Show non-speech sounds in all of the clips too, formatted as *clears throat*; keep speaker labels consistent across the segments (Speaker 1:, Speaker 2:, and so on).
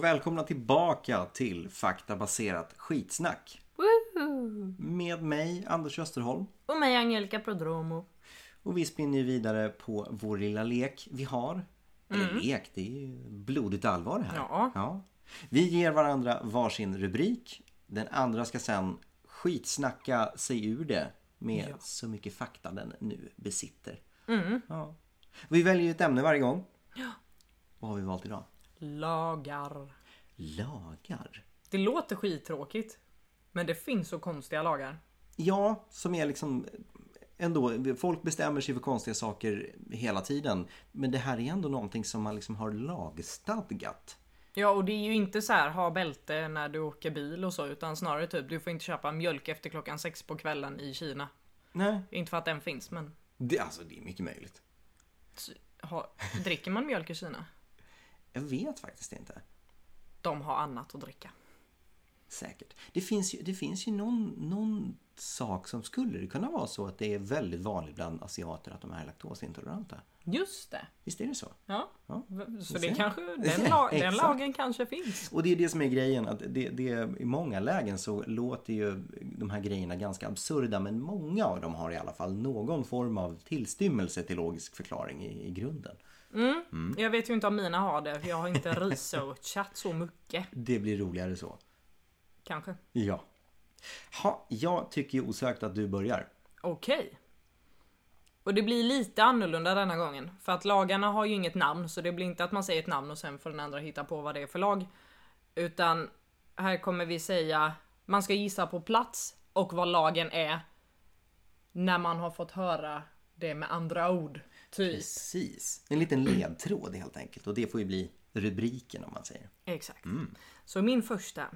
Speaker 1: välkomna tillbaka till faktabaserat skitsnack.
Speaker 2: Woohoo!
Speaker 1: Med mig Anders Österholm.
Speaker 2: Och mig Angelica Prodromo.
Speaker 1: Och vi spinner ju vidare på vår lilla lek vi har. Eller lek, det är ju blodigt allvar det här.
Speaker 2: Ja.
Speaker 1: Vi ger varandra varsin rubrik. Den andra ska sen skitsnacka sig ur det med så mycket fakta den nu besitter. Ja. Vi väljer ju ett ämne varje gång. Vad har vi valt idag?
Speaker 2: Lagar.
Speaker 1: Lagar.
Speaker 2: Det låter skittråkigt. Men det finns så konstiga lagar.
Speaker 1: Ja, som är liksom ändå, folk bestämmer sig för konstiga saker hela tiden. Men det här är ändå någonting som man liksom har lagstadgat.
Speaker 2: Ja och det är ju inte så här ha bälte när du åker bil och så utan snarare typ du får inte köpa mjölk efter klockan sex på kvällen i Kina.
Speaker 1: Nej,
Speaker 2: Inte för att den finns men
Speaker 1: det, alltså det är mycket möjligt.
Speaker 2: s- ha, dricker man mjölk i Kina?
Speaker 1: Jag vet faktiskt inte.
Speaker 2: De har annat att dricka.
Speaker 1: Säkert. Det finns ju, det finns ju någon, någon sak som skulle det kunna vara så att det är väldigt vanligt bland asiater att de är laktosintoleranta.
Speaker 2: Just det.
Speaker 1: Visst är det så?
Speaker 2: Ja.
Speaker 1: Ja.
Speaker 2: V- Så
Speaker 1: Du
Speaker 2: det
Speaker 1: ser.
Speaker 2: kanske, den, la, den
Speaker 1: Exakt.
Speaker 2: lagen kanske finns.
Speaker 1: Och det är det som är grejen, att det, det, i många lägen så låter ju de här grejerna ganska absurda men många av dem har i alla fall någon form av tillstymmelse till logisk förklaring i, i grunden. Mm.
Speaker 2: Jag vet ju inte om mina har det för jag har inte *laughs* researchat så mycket.
Speaker 1: Det blir roligare så.
Speaker 2: Kanske.
Speaker 1: Ja. Ha, jag tycker ju osökt att du börjar.
Speaker 2: Okej. Och det blir lite annorlunda denna gången. För att lagarna har ju inget namn så det blir inte att man säger ett namn och sen får den andra hitta på vad det är för lag. Utan här kommer vi säga man ska gissa på plats och vad lagen är. När man har fått höra det med andra ord. Typ.
Speaker 1: Precis. En liten ledtråd helt enkelt och det får ju bli rubriken om man säger.
Speaker 2: Exakt. Så min första.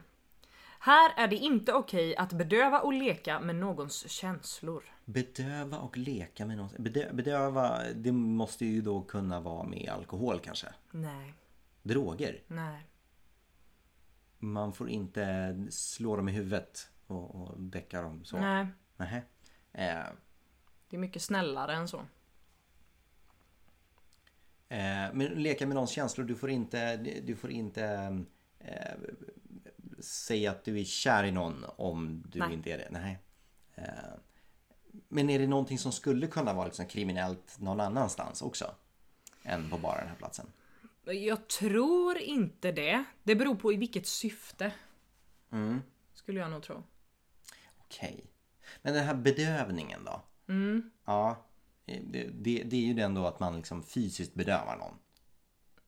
Speaker 2: Här är det inte okej att bedöva och leka med någons känslor.
Speaker 1: Bedöva och leka med något. Bedö, bedöva, det måste ju då kunna vara med alkohol kanske.
Speaker 2: Nej,
Speaker 1: Droger.
Speaker 2: nej.
Speaker 1: Man får inte slå dem i huvudet och, och däcka dem så.
Speaker 2: Nej,
Speaker 1: Nähä. Eh,
Speaker 2: det är mycket snällare än så.
Speaker 1: eh, men leka med någons känslor. Du får inte, du får inte eh, säga att du är kär i någon om du
Speaker 2: Nej.
Speaker 1: inte är det. Nej. Eh, men är det någonting som skulle kunna vara liksom kriminellt någon annanstans också? Än på bara den här platsen?
Speaker 2: Jag tror inte det. Det beror på i vilket syfte.
Speaker 1: Mm.
Speaker 2: Skulle jag nog tro.
Speaker 1: Okej. Men den här bedövningen då?
Speaker 2: Mm.
Speaker 1: Ja. eh, Det, det, det är ju den då att man liksom fysiskt bedövar någon.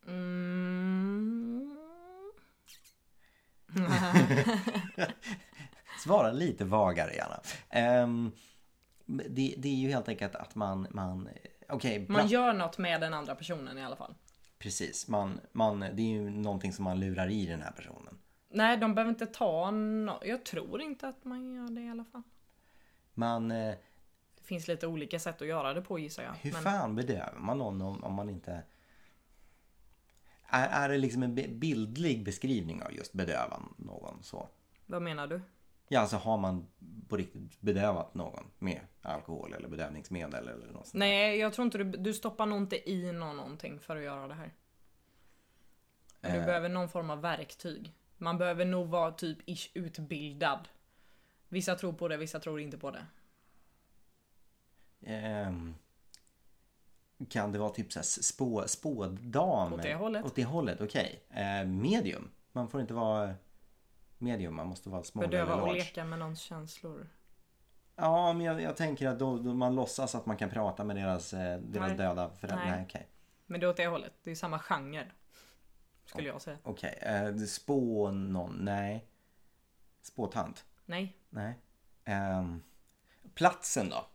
Speaker 2: Mm.
Speaker 1: Svara lite vagare gärna. Ehm, det, det är ju helt enkelt att man... man Okej,
Speaker 2: Man
Speaker 1: pla-
Speaker 2: gör något med den andra personen i alla fall.
Speaker 1: precis. Man, man, det är ju någonting som man lurar i den här personen.
Speaker 2: Nej, de behöver inte ta no- Jag tror inte att man gör det i alla fall.
Speaker 1: Man, eh,
Speaker 2: Det finns lite olika sätt att göra det på gissar jag.
Speaker 1: hur
Speaker 2: Men
Speaker 1: fan bedövar man någon om, om man inte... Är, är det liksom en bi- bildlig beskrivning av just bedöva någon så?
Speaker 2: vad menar du?
Speaker 1: Ja, alltså har man på riktigt bedövat någon med alkohol eller bedövningsmedel eller något sånt.
Speaker 2: Nej, jag tror inte du... Du stoppar nog inte i någon någonting för att göra det här. Men du
Speaker 1: Eh.
Speaker 2: behöver någon form av verktyg. Man behöver nog vara typ ish utbildad. Vissa tror på det, vissa tror inte på det.
Speaker 1: Ehm, kan det vara typ så här spå, spådam?
Speaker 2: Åt det hållet.
Speaker 1: Åt det hållet, okej. Eh, medium. Man får inte vara medium, man måste vara small eller
Speaker 2: Bedöva och
Speaker 1: large.
Speaker 2: leka med någons känslor.
Speaker 1: Ja, men jag, jag tänker att då, då man låtsas att man kan prata med deras, eh, deras
Speaker 2: Nej.
Speaker 1: döda föräldrar.
Speaker 2: Nej.
Speaker 1: Nej, okej.
Speaker 2: Men det är åt det hållet. Det är samma genre. Skulle jag säga.
Speaker 1: Okej, eh, spå någon, nej. Spåtant,
Speaker 2: Nej.
Speaker 1: nej. Ehm, platsen då?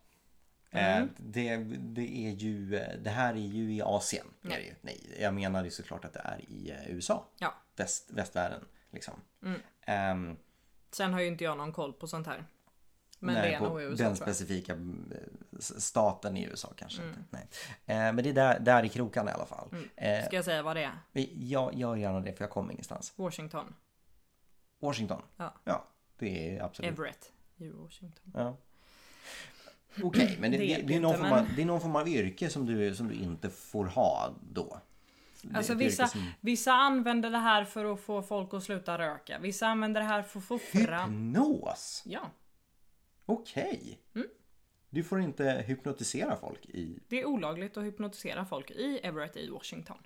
Speaker 2: Mm.
Speaker 1: Eh, Det, det är ju, eh, det här är ju i Asien. är
Speaker 2: Nej.
Speaker 1: det ju. Nej, jag menar ju såklart att det är i eh, USA.
Speaker 2: Ja. Mm.
Speaker 1: Väst, västvärlden liksom. Ehm,
Speaker 2: Sen har ju inte jag någon koll på sånt här. Men
Speaker 1: nej,
Speaker 2: det är
Speaker 1: på
Speaker 2: nog i USA
Speaker 1: Den
Speaker 2: tror jag. Mm.
Speaker 1: specifika eh, s- staten i USA kanske inte. Nej. Eh, men det är där, där i krokarna i alla fall. Eh,
Speaker 2: Ska jag säga vad det är?
Speaker 1: jag jag gör gärna det för jag kommer ingenstans.
Speaker 2: Washington.
Speaker 1: Mm. Washington.
Speaker 2: Ja.
Speaker 1: det är absolut.
Speaker 2: Everett. I Washington.
Speaker 1: Ja. Okej, men det,
Speaker 2: Det
Speaker 1: det,
Speaker 2: vet
Speaker 1: det, är
Speaker 2: jag
Speaker 1: någon
Speaker 2: inte,
Speaker 1: form av,
Speaker 2: men-
Speaker 1: det är någon form av yrke som du, som du inte får ha då.
Speaker 2: Alltså
Speaker 1: ett
Speaker 2: vissa,
Speaker 1: yrke som-
Speaker 2: vissa använder det här för att få folk att sluta röka. Vissa använder det här för att få fram...
Speaker 1: Hypnos!
Speaker 2: Ja,
Speaker 1: Okej!
Speaker 2: Mm.
Speaker 1: Du får inte hypnotisera folk i...
Speaker 2: det är olagligt att hypnotisera folk i Everett i Washington.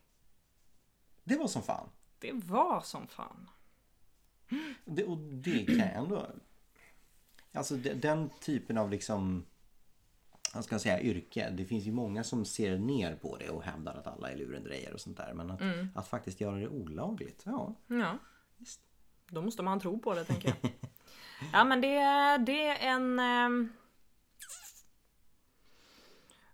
Speaker 1: Det var som fan.
Speaker 2: Det var som fan.
Speaker 1: Det, och det kan jag ändå... Alltså de- den typen av liksom... Vad ska jag säga? Yrke. Det finns ju många som ser ner på det och hävdar att alla är lurendrejare och sånt där. Men att,
Speaker 2: Mm.
Speaker 1: att faktiskt göra det olagligt. Ja.
Speaker 2: Ja. Då måste man tro på det tänker jag. *laughs* Ja men det, det är en... ehm,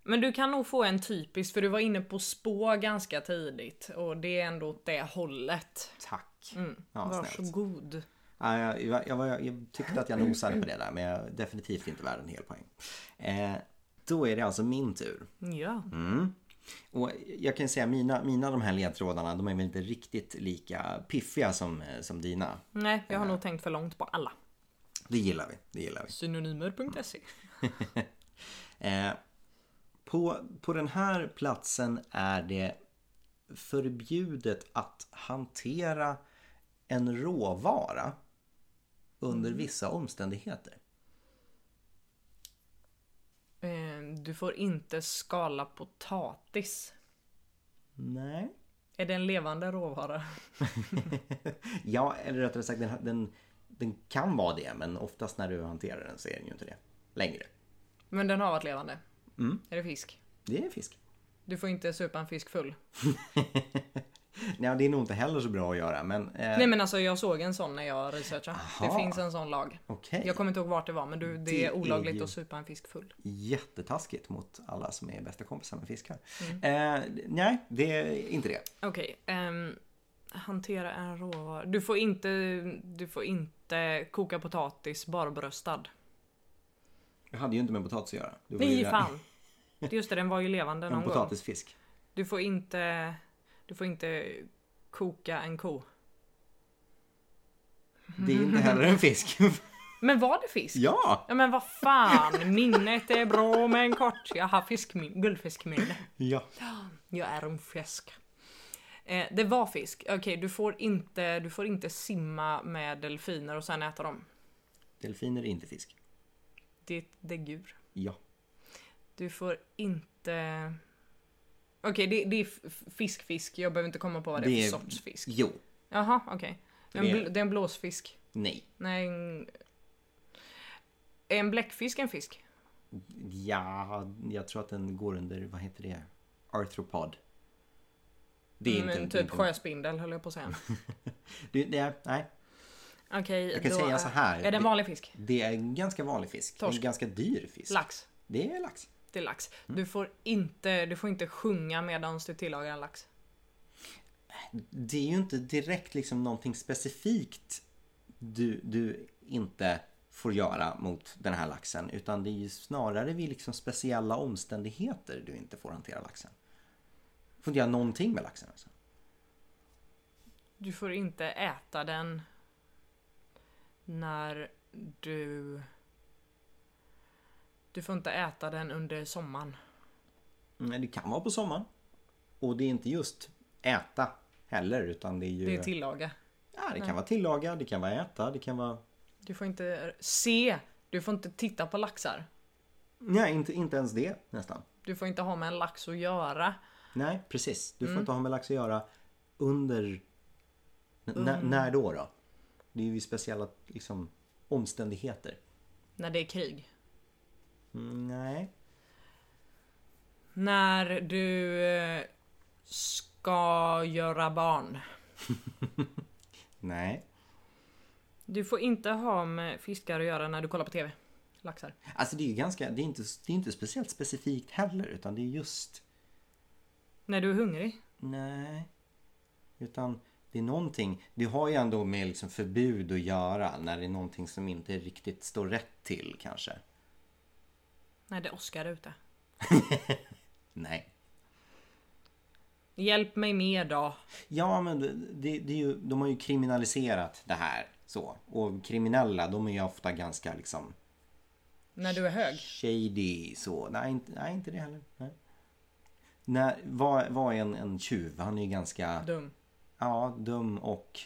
Speaker 2: Men du kan nog få en typisk för du var inne på spå ganska tidigt och det är ändå åt det hållet.
Speaker 1: Tack. Ja, snällt.
Speaker 2: Mm. Varsågod.
Speaker 1: Ja, jag, jag, jag, var- jag tyckte att jag nosade på det där men jag är definitivt inte värd en hel poäng. Eh, då är det alltså min tur.
Speaker 2: Ja.
Speaker 1: Och jag kan säga mina, mina de här ledtrådarna de är väl inte riktigt lika piffiga som, eh, som dina.
Speaker 2: Nej, jag har nog tänkt för långt på alla.
Speaker 1: Det gillar vi. Det gillar vi.
Speaker 2: Synonymer.se
Speaker 1: Eh, på, på den här platsen är det förbjudet att hantera en råvara under vissa omständigheter.
Speaker 2: Eh, Du får inte skala potatis.
Speaker 1: Nej.
Speaker 2: Är det en levande råvara?
Speaker 1: Ja, eller rättare sagt den, den, den kan vara det men oftast när du hanterar den så är den ju inte det längre.
Speaker 2: Men den har varit levande. Är det fisk?
Speaker 1: Det är fisk.
Speaker 2: Du får inte supa en fisk full.
Speaker 1: Nej, det är nog inte heller så bra att göra men... Eh,
Speaker 2: Nej men alltså jag såg en sån när jag researchade.
Speaker 1: Aha.
Speaker 2: Det finns en sån lag.
Speaker 1: Okej.
Speaker 2: Jag kommer inte ihåg vart det var men du, det,
Speaker 1: Det är
Speaker 2: är olagligt
Speaker 1: ju-
Speaker 2: att supa en fisk full.
Speaker 1: jättetaskigt mot alla som är bästa kompisar med fiskar.
Speaker 2: Mm.
Speaker 1: Eh, nej, det är inte det.
Speaker 2: Okej. ehm, hantera en råvara. Du får inte, du får inte koka potatis barbröstad.
Speaker 1: Jag hade ju inte med potatis att göra. Det var
Speaker 2: Nej
Speaker 1: ju
Speaker 2: fan. Det är Just det, den var ju levande någon
Speaker 1: En
Speaker 2: gång.
Speaker 1: potatisfisk.
Speaker 2: Du får inte, du får inte koka en ko.
Speaker 1: Det är inte heller en fisk. *laughs*
Speaker 2: Men var det fisk?
Speaker 1: ja!
Speaker 2: Ja men vad fan, minnet är bra men kort. Jag har fiskmin- guldfiskminne.
Speaker 1: ja!
Speaker 2: Jag är en fisk. Eh, det var fisk. Okej, du, får inte, du får inte simma med delfiner och sen äta dem.
Speaker 1: Delfiner är inte fisk.
Speaker 2: Det är ett däggdjur.
Speaker 1: Ja.
Speaker 2: Du får inte... Okej, det, det är f- fiskfisk. Jag behöver inte komma på vad det är för sorts fisk.
Speaker 1: Jo.
Speaker 2: Jaha, okej.
Speaker 1: Det
Speaker 2: Det,
Speaker 1: är-
Speaker 2: är en bl- det är en blåsfisk.
Speaker 1: Nej.
Speaker 2: Nej. en- Är en bläckfisk en fisk?
Speaker 1: Ja, jag tror att den går under, vad heter det? Arthropod. Det är
Speaker 2: Mm,
Speaker 1: inte...
Speaker 2: typ
Speaker 1: inte-
Speaker 2: sjöspindel höll jag på att
Speaker 1: *laughs*
Speaker 2: säga.
Speaker 1: Det, det är, nej,
Speaker 2: Okej,
Speaker 1: jag kan
Speaker 2: då
Speaker 1: säga
Speaker 2: är-
Speaker 1: så här.
Speaker 2: Är det en vanlig fisk?
Speaker 1: Det är en ganska vanlig fisk.
Speaker 2: Torsk.
Speaker 1: En ganska dyr fisk.
Speaker 2: Lax.
Speaker 1: Det är lax.
Speaker 2: Det är lax. Du, får inte, du får inte sjunga medan du tillagar en lax.
Speaker 1: Det är ju inte direkt liksom någonting specifikt du, du inte får göra mot den här laxen utan det är ju snarare vid liksom speciella omständigheter du inte får hantera laxen. Du får inte göra någonting med laxen alltså.
Speaker 2: Du får inte äta den när du... Du får inte äta den under sommaren.
Speaker 1: Men det kan vara på sommaren. Och det är inte just äta heller utan det är ju...
Speaker 2: Det är tillaga.
Speaker 1: ja, det kan vara tillaga, det kan vara äta, det kan vara...
Speaker 2: Du får inte se. Du får inte titta på laxar.
Speaker 1: Nej, inte, inte ens det nästan.
Speaker 2: Du får inte ha med en lax att göra.
Speaker 1: Nej, precis. Du får
Speaker 2: Mm.
Speaker 1: inte ha med lax att göra under... N- när-
Speaker 2: Mm.
Speaker 1: När då då? Det är ju vid speciella liksom, omständigheter.
Speaker 2: När det är krig.
Speaker 1: Mm, nej.
Speaker 2: När du eh, ska göra barn.
Speaker 1: Nej.
Speaker 2: Du får inte ha med fiskar att göra när du kollar på TV. Laxar.
Speaker 1: Alltså det är ju ganska... Det är inte, det är inte speciellt specifikt heller utan det är just...
Speaker 2: När du är hungrig.
Speaker 1: Nej. Utan det är någonting... Det har ju ändå med liksom förbud att göra när det är någonting som inte riktigt står rätt till kanske.
Speaker 2: När det åskar ute.
Speaker 1: Nej.
Speaker 2: Hjälp mig mer då.
Speaker 1: Ja, men det, det, det är ju, de har ju kriminaliserat det här. Så. Och kriminella, de är ju ofta ganska liksom
Speaker 2: När du är hög.
Speaker 1: shady. Så. Nej, inte, nej, inte det heller. Nej. när, vad, vad är en, en tjuv? Han är ju ganska
Speaker 2: Dum.
Speaker 1: ja, dum och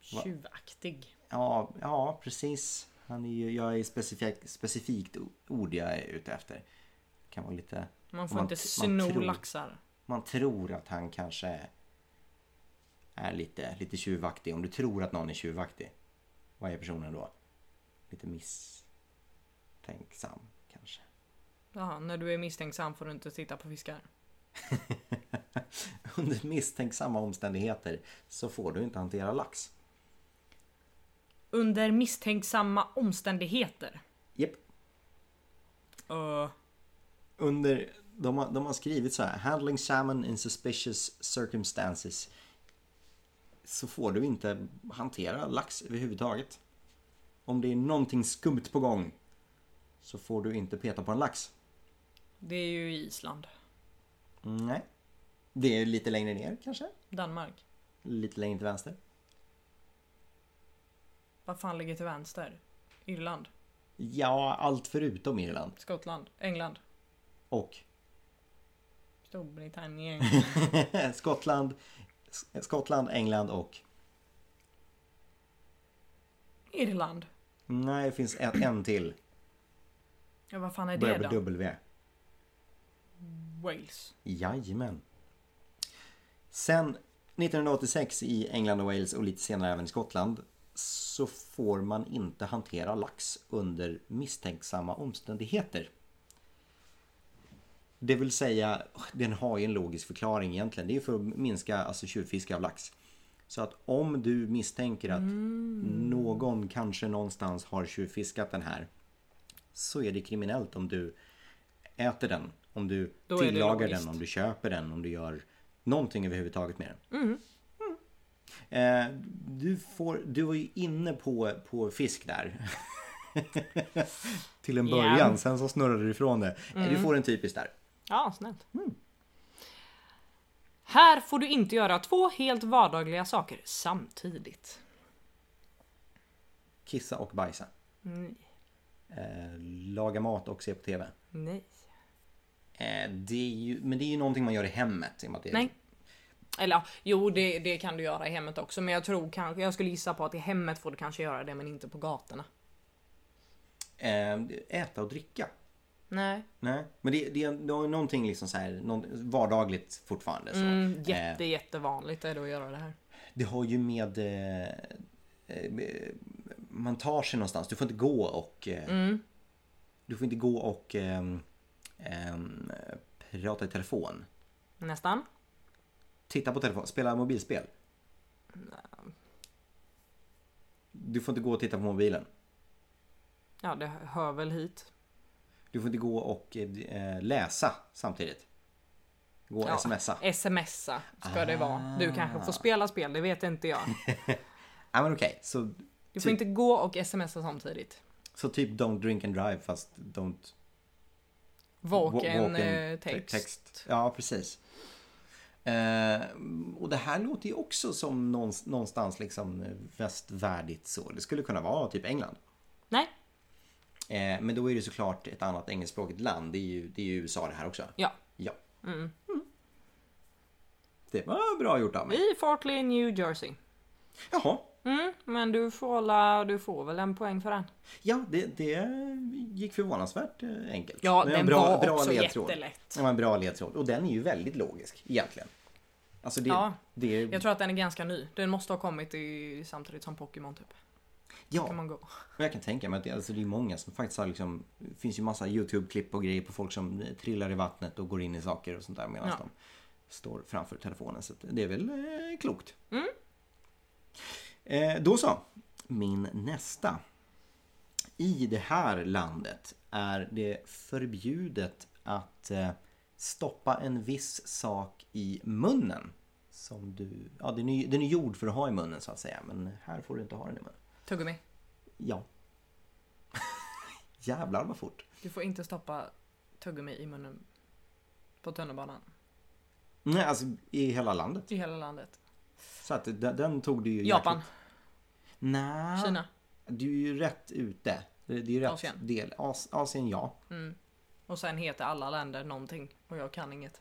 Speaker 2: Tjuvaktig.
Speaker 1: ja, ja precis. Han är ju, jag är specifikt, specifikt ord jag är ute efter. Kan vara lite...
Speaker 2: Man får
Speaker 1: man-
Speaker 2: inte
Speaker 1: man
Speaker 2: sno
Speaker 1: tror-
Speaker 2: laxar.
Speaker 1: man tror att han kanske är lite, lite tjuvaktig. Om du tror att någon är tjuvaktig, vad är personen då? Lite misstänksam kanske. *laughs*
Speaker 2: Jaha, när du är misstänksam får du inte titta på fiskar.
Speaker 1: Under misstänksamma omständigheter så får du inte hantera lax.
Speaker 2: Under misstänksamma omständigheter.
Speaker 1: Japp.
Speaker 2: Uh,
Speaker 1: Under, de, har, de har skrivit så här. Handling salmon in suspicious circumstances. Så får du inte hantera lax överhuvudtaget. Om det är någonting skumt på gång så får du inte peta på en lax.
Speaker 2: det är ju Island.
Speaker 1: Nej. Det är lite längre ner kanske?
Speaker 2: Danmark.
Speaker 1: Lite längre till vänster?
Speaker 2: Vad fan ligger till vänster? Irland.
Speaker 1: Ja, allt förutom Irland.
Speaker 2: Skottland. England.
Speaker 1: Och *laughs*
Speaker 2: Storbritannien.
Speaker 1: Skottland, S- Skottland, England och...
Speaker 2: Irland.
Speaker 1: Nej, det finns en, en till.
Speaker 2: Ja, vad fan är
Speaker 1: Börjar
Speaker 2: det
Speaker 1: med
Speaker 2: då?
Speaker 1: W.
Speaker 2: Wales.
Speaker 1: Jajamän. Sen 1986 i England och Wales och lite senare även i Skottland så får man inte hantera lax under misstänksamma omständigheter. Det vill säga, den har ju en logisk förklaring egentligen. Det är ju för att minska alltså, tjuvfiske av lax. Så att om du misstänker att
Speaker 2: Mm.
Speaker 1: någon kanske någonstans har tjuvfiskat den här så är det kriminellt om du äter den, om du
Speaker 2: Då är det
Speaker 1: tillagar den,
Speaker 2: logiskt.
Speaker 1: om du köper den, om du gör någonting överhuvudtaget med den.
Speaker 2: Mm.
Speaker 1: Eh, du, får, du var ju inne på, på fisk där. *laughs* Till en
Speaker 2: Ja. Mm.
Speaker 1: början, sen så snurrade du ifrån det. Eh, Du får en typisk där.
Speaker 2: Ja, snällt. Här får du inte göra två helt vardagliga saker samtidigt.
Speaker 1: Kissa och bajsa.
Speaker 2: Nej.
Speaker 1: Eh, laga mat och se på TV.
Speaker 2: Nej.
Speaker 1: Eh, det är ju, men det är ju någonting man gör i hemmet. I och med att det är
Speaker 2: Nej. Eller ja, jo, det, det kan du göra i hemmet också, men jag tror kanske jag skulle gissa på att i hemmet får du kanske göra det, men inte på gatorna.
Speaker 1: Eh, äta och dricka.
Speaker 2: Nej,
Speaker 1: Nej, men det, det, det har ju någonting liksom så här, någon, vardagligt fortfarande. Så.
Speaker 2: mm, jätte
Speaker 1: Eh,
Speaker 2: jättevanligt är det att göra det här.
Speaker 1: det har ju med... Eh, eh, man tar sig någonstans. Du får inte gå och... Eh,
Speaker 2: Mm.
Speaker 1: Du får inte gå och ehm, ehm, prata i telefon.
Speaker 2: Nästan.
Speaker 1: Titta på telefon, spela mobilspel. Du får inte gå och titta på mobilen.
Speaker 2: Ja, det hör väl hit.
Speaker 1: Du får inte gå och eh, läsa samtidigt. Gå och
Speaker 2: Ja,
Speaker 1: smsa.
Speaker 2: Smsa ska det vara. Du kanske får spela spel, det vet inte jag.
Speaker 1: Ja men okej, så,
Speaker 2: Du får inte gå och smsa samtidigt.
Speaker 1: så typ don't drink and drive fast don't
Speaker 2: Walk,
Speaker 1: Wa-
Speaker 2: en
Speaker 1: walk in
Speaker 2: eh,
Speaker 1: te-
Speaker 2: text.
Speaker 1: Ja, precis. Eh, och det här låter ju också som någonstans, någonstans liksom eh, västvärdigt så. Det skulle kunna vara typ England.
Speaker 2: Nej,
Speaker 1: Eh, men då är det såklart ett annat engelskspråkigt land. Det är ju, det är ju USA det här också.
Speaker 2: ja.
Speaker 1: Ja. Mm. Det var bra gjort av mig.
Speaker 2: I Fartley, New Jersey.
Speaker 1: Jaha.
Speaker 2: Mm, men du får hålla, du får väl en poäng för den.
Speaker 1: Ja, det, det gick förvånansvärt eh, enkelt.
Speaker 2: Ja,
Speaker 1: Det var
Speaker 2: den
Speaker 1: en
Speaker 2: var också jättelätt.
Speaker 1: Det var en bra ledtråd. Och den är ju väldigt logisk egentligen. Alltså det,
Speaker 2: Ja.
Speaker 1: det är
Speaker 2: Jag tror att den är ganska ny. Den måste ha kommit i, samtidigt som Pokémon typ.
Speaker 1: ja,
Speaker 2: Kan man gå.
Speaker 1: Och jag kan tänka mig att det, alltså det är många som faktiskt har liksom, det finns ju massa YouTube-klipp och grejer på folk som eh, trillar i vattnet och går in i saker och sånt där medan
Speaker 2: Ja.
Speaker 1: de står framför telefonen. Så att det är väl eh, klokt. Eh, då så, min nästa. I det här landet är det förbjudet att eh, stoppa en viss sak i munnen. Som du, ja, den, är, den är gjord för att ha i munnen så att säga, men här får du inte ha den i munnen.
Speaker 2: Tuggummi.
Speaker 1: Ja. *laughs* Jävlar vad fort.
Speaker 2: Du får inte stoppa tuggummi i munnen på tunnelbanan.
Speaker 1: Nej, alltså i hela landet.
Speaker 2: I hela landet.
Speaker 1: Så att den, den tog du ju
Speaker 2: Japan.
Speaker 1: jäkligt- Nej.
Speaker 2: Kina.
Speaker 1: Du är ju rätt ute. Det det är ju rätt
Speaker 2: Asien.
Speaker 1: del. As, Asien, ja.
Speaker 2: Och sen heter alla länder någonting och jag kan inget.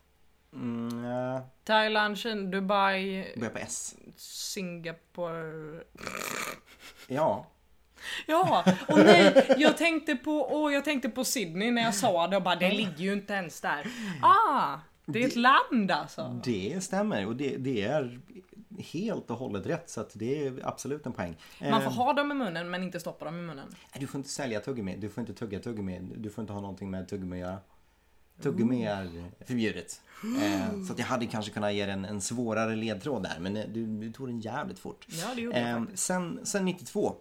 Speaker 1: Mm, ja.
Speaker 2: Thailand, Kina, Dubai,
Speaker 1: Börjar på S.
Speaker 2: Singapore.
Speaker 1: Ja.
Speaker 2: Ja, och nej, jag tänkte på, åh, jag tänkte på Sydney när jag sa det och bara det ligger ju inte ens där. Ah, det är ett land alltså.
Speaker 1: Det stämmer och det, det är helt och hållet rätt så att det är absolut en poäng.
Speaker 2: Man får
Speaker 1: Eh,
Speaker 2: ha dem i munnen men inte stoppa dem i munnen.
Speaker 1: Du får inte sälja tuggummi, du får inte tugga tuggummi, du får inte ha någonting med tuggummi att
Speaker 2: Mm.
Speaker 1: göra. Tuggummi är förbjudet. Eh, så att jag hade kanske kunnat ge dig en, en svårare ledtråd där men eh, du, du tog den jävligt fort.
Speaker 2: Ja, det gjorde jag
Speaker 1: Eh, sen, sen 92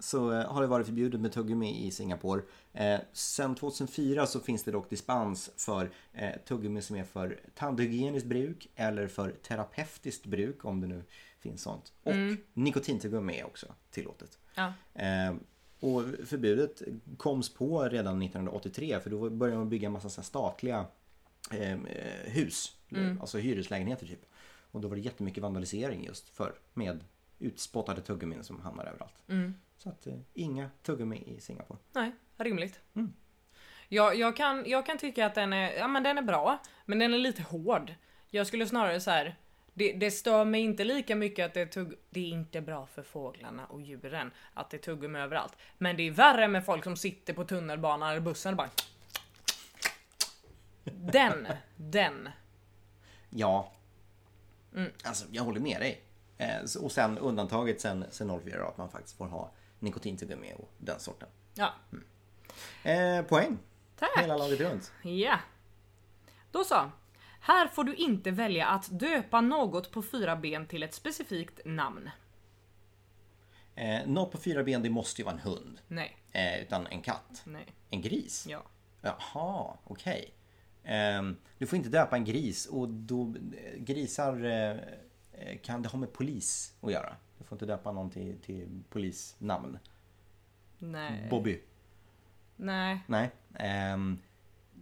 Speaker 1: så eh, har det varit förbjudet med tuggummi i Singapore. Eh, sen 2004 så finns det dock dispens för eh, tuggummi som är för tandhygieniskt bruk eller för terapeutiskt bruk om det nu finns sånt. Och nikotintuggummi är också tillåtet.
Speaker 2: Mm. Ja.
Speaker 1: Eh, och förbudet koms på redan 1983 för då började man bygga en massa så här statliga eh, eh, hus, alltså hyreslägenheter typ. Och då var det jättemycket vandalisering just för med utspottade tuggummin som hamnar överallt. Så att eh, inga tuggummi i Singapore.
Speaker 2: Nej, rimligt. Jag, jag, kan, jag kan tycka att den är, ja, men den är bra, men den är lite hård. Jag skulle snarare så här. Det, det stör mig inte lika mycket att det är tugg... Det är inte bra för fåglarna och djuren att det är tuggummi överallt. Men det är värre med folk som sitter på tunnelbanan eller bussen och bara... Den, den.
Speaker 1: Ja, alltså jag håller med dig. Eh, så- och sen undantaget sen, sen 04 att man faktiskt får ha nikotintuggummi och den sorten.
Speaker 2: Ja,
Speaker 1: Eh, poäng!
Speaker 2: tack.
Speaker 1: Hela landet runt.
Speaker 2: Ja. Då så. Här får du inte välja att döpa något på fyra ben till ett specifikt namn.
Speaker 1: Eh, något på fyra ben, det måste ju vara en hund.
Speaker 2: Nej,
Speaker 1: Eh, utan en katt.
Speaker 2: nej,
Speaker 1: En gris?
Speaker 2: ja.
Speaker 1: Jaha, okej. Ehm, du får inte döpa en gris och då eh, grisar eh, eh, kan det ha med polis att göra. Du får inte döpa någon till, till polisnamn.
Speaker 2: Nej.
Speaker 1: Bobby?
Speaker 2: Nej.
Speaker 1: Nej. Ehm,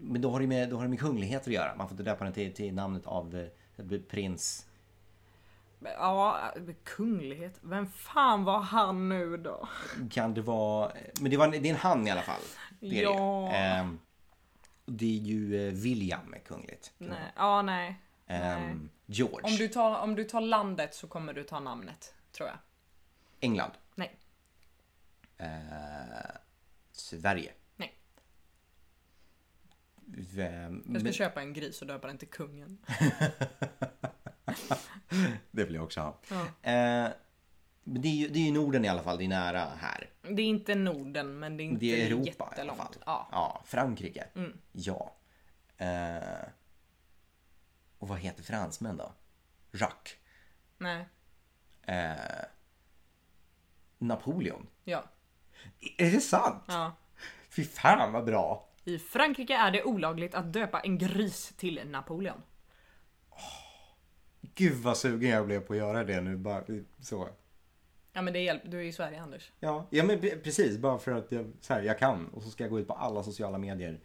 Speaker 1: men då har, det med, då har det med kungligheter att göra. Man får inte döpa den till, till namnet av eh, prins.
Speaker 2: Ja, kunglighet. Vem fan var han nu då?
Speaker 1: Kan det vara... eh, Men det, var, det är en han i alla fall. Det är det ju.
Speaker 2: Ja.
Speaker 1: Ehm, det är ju eh, William är kungligt.
Speaker 2: Nej. Ja, nej. nej.
Speaker 1: Ehm, George.
Speaker 2: Om, du tar, om du tar landet så kommer du ta namnet, tror jag.
Speaker 1: England.
Speaker 2: Nej,
Speaker 1: Eh, Sverige.
Speaker 2: nej.
Speaker 1: Vem,
Speaker 2: Jag ska
Speaker 1: men-
Speaker 2: köpa en gris och döpa den till kungen.
Speaker 1: det vill jag också ha.
Speaker 2: Ja.
Speaker 1: Eh, men det, är ju, det är ju Norden i alla fall, det är nära här.
Speaker 2: Det är inte Norden, men det är inte
Speaker 1: Det är Europa i alla
Speaker 2: jättelångt.
Speaker 1: fall.
Speaker 2: Ja. Mm.
Speaker 1: Frankrike. Ja. Eh, och vad heter fransmän då? Jacques.
Speaker 2: Nej.
Speaker 1: Eh, Napoleon.
Speaker 2: Ja.
Speaker 1: Är det sant?
Speaker 2: ja.
Speaker 1: Fy fan vad bra!
Speaker 2: I Frankrike är det olagligt att döpa en gris till Napoleon.
Speaker 1: Gud vad sugen jag blev på att göra det nu bara så.
Speaker 2: Ja men det hjälper, du är i Sverige Anders.
Speaker 1: Ja, ja men pre- precis. Bara för att jag, så här, jag kan. Och så ska jag gå ut på alla sociala medier.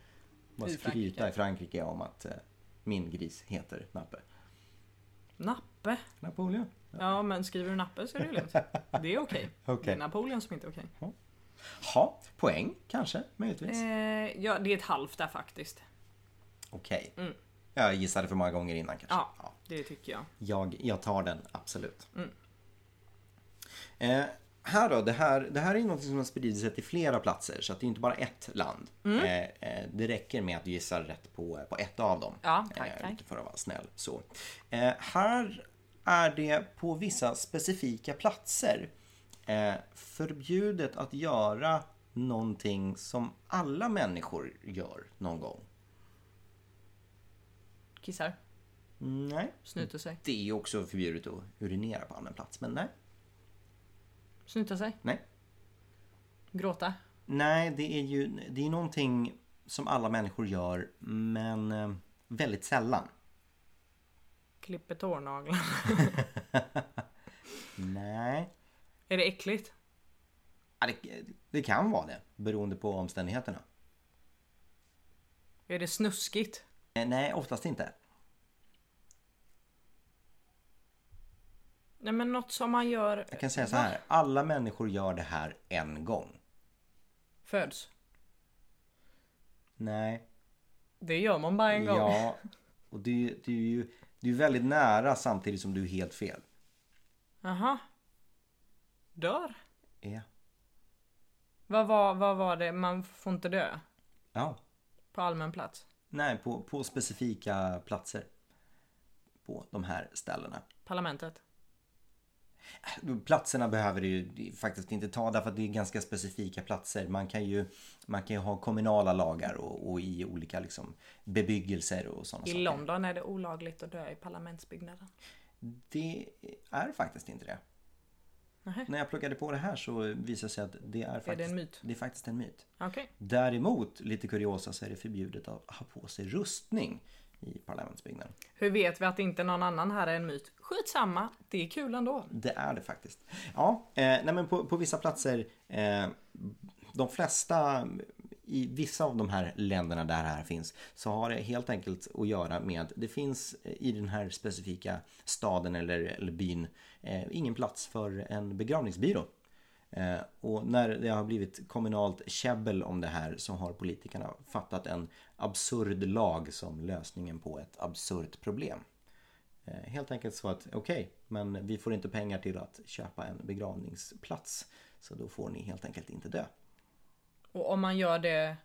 Speaker 1: Bara
Speaker 2: I Frankrike.
Speaker 1: skryta i Frankrike om att eh, min gris heter Nappe.
Speaker 2: Nappe.
Speaker 1: Napoleon.
Speaker 2: Ja men skriver du Nappe så är det lugnt. Det är okej. Det
Speaker 1: Okej.
Speaker 2: är Napoleon som inte är okej.
Speaker 1: Ha, Mm. poäng kanske, möjligtvis.
Speaker 2: Eh, ja, det är ett halvt där faktiskt.
Speaker 1: Okej. Jag gissade för många gånger innan kanske.
Speaker 2: Mm. Ja, Mm.
Speaker 1: Ja.
Speaker 2: det tycker jag.
Speaker 1: Jag, jag tar den, absolut. Eh, här då, det här, det här är något som har spridit sig till flera platser så att det är inte bara ett land.
Speaker 2: Mm.
Speaker 1: Eh, eh, det räcker med att du gissar rätt på, på ett av dem.
Speaker 2: Ja, tack, tack.
Speaker 1: Eh, lite För att vara snäll. Så. Eh, här är det på vissa specifika platser eh, förbjudet att göra någonting som alla människor gör någon gång.
Speaker 2: Kissar,
Speaker 1: Nej.
Speaker 2: snyter sig,
Speaker 1: Det är ju också förbjudet att urinera på allmän plats, men nej.
Speaker 2: snyter sig,
Speaker 1: Nej.
Speaker 2: gråta.
Speaker 1: Nej, det är ju det är någonting som alla människor gör, men eh, väldigt sällan.
Speaker 2: Klipper tårnaglar.
Speaker 1: Nej,
Speaker 2: *laughs* Är det äckligt?
Speaker 1: Ja, det, det kan vara det beroende på omständigheterna.
Speaker 2: Är det snuskigt?
Speaker 1: Eh, Nej, oftast inte.
Speaker 2: Nej men något som man gör...
Speaker 1: Jag kan säga så här, alla människor gör det här en gång.
Speaker 2: Föds.
Speaker 1: Nej,
Speaker 2: Det gör man bara en gång.
Speaker 1: ja, Och du, du är ju du är väldigt nära samtidigt som du är helt fel.
Speaker 2: Aha. Dör?
Speaker 1: Ja.
Speaker 2: Vad var, vad var det? Man får inte dö
Speaker 1: ja.
Speaker 2: på allmän plats?
Speaker 1: Nej, på, på specifika platser. På de här ställena.
Speaker 2: Parlamentet?
Speaker 1: Platserna behöver du ju faktiskt inte ta därför att det är ganska specifika platser. Man kan ju, man kan ju ha kommunala lagar och, och i olika liksom bebyggelser och sådana
Speaker 2: I
Speaker 1: saker.
Speaker 2: London är det olagligt att dö i parlamentsbyggnaden.
Speaker 1: Det är faktiskt inte det.
Speaker 2: Nähä.
Speaker 1: När jag pluggade på det här så visade det sig att det är faktiskt,
Speaker 2: en myt?
Speaker 1: Det är faktiskt en myt.
Speaker 2: Okej.
Speaker 1: Däremot, lite kuriosa, så är det förbjudet att ha på sig rustning i parlamentsbyggnaden.
Speaker 2: Hur vet vi att inte någon annan här är en myt? Skitsamma, det är kul ändå.
Speaker 1: Det är det faktiskt. Ja, eh, nej men på, på vissa platser, eh, de flesta, i vissa av de här länderna där det här finns, så har det helt enkelt att göra med att det finns eh, i den här specifika staden eller, eller byn eh, ingen plats för en begravningsbyrå. Eh, och när det har blivit kommunalt käbbel om det här så har politikerna fattat en absurd lag som lösningen på ett absurt problem. Eh, Helt enkelt så att okej, men vi får inte pengar till att köpa en begravningsplats. Så då får ni helt enkelt inte dö.
Speaker 2: Och om man gör det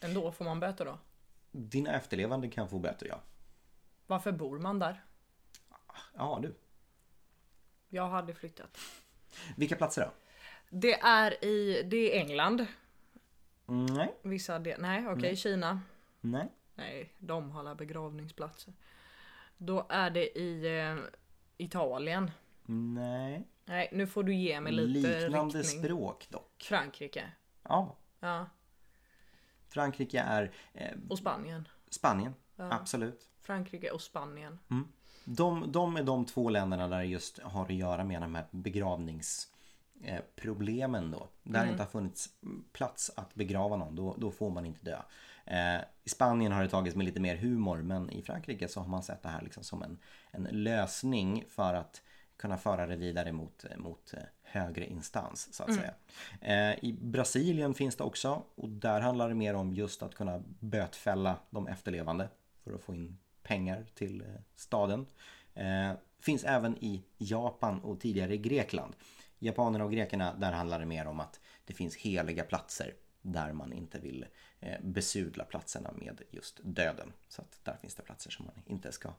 Speaker 2: ändå, får man böter då?
Speaker 1: Dina efterlevande kan få böter ja.
Speaker 2: Varför bor man där?
Speaker 1: Ja du.
Speaker 2: Jag hade flyttat.
Speaker 1: Vilka platser då?
Speaker 2: Det är i, det är England.
Speaker 1: Mm, Nej,
Speaker 2: Vissa del, nej okej, Kina.
Speaker 1: nej.
Speaker 2: Nej, de har alla begravningsplatser. Då är det i eh, Italien.
Speaker 1: Nej.
Speaker 2: Nej, nu får du ge mig lite
Speaker 1: Liknande
Speaker 2: riktning.
Speaker 1: språk dock.
Speaker 2: Frankrike.
Speaker 1: Ja.
Speaker 2: Ja,
Speaker 1: Frankrike är eh,
Speaker 2: och Spanien.
Speaker 1: Spanien. Absolut.
Speaker 2: Frankrike och Spanien.
Speaker 1: Mm. De, de är de två länderna där det just har att göra med de här begravningsproblemen då. Där det inte har funnits plats att begrava någon, då, då får man inte dö. Eh, I Spanien har det tagits med lite mer humor, men i Frankrike så har man sett det här liksom som en, en lösning för att kunna föra det vidare mot, mot eh, högre instans så att säga. Eh, I Brasilien finns det också och där handlar det mer om just att kunna bötfälla de efterlevande för att få in pengar till eh, staden. Eh, finns även i Japan och tidigare i Grekland. Japanerna och grekerna, där handlar det mer om att det finns heliga platser där man inte vill eh, besudla platserna med just döden. Så att där finns det platser som man inte ska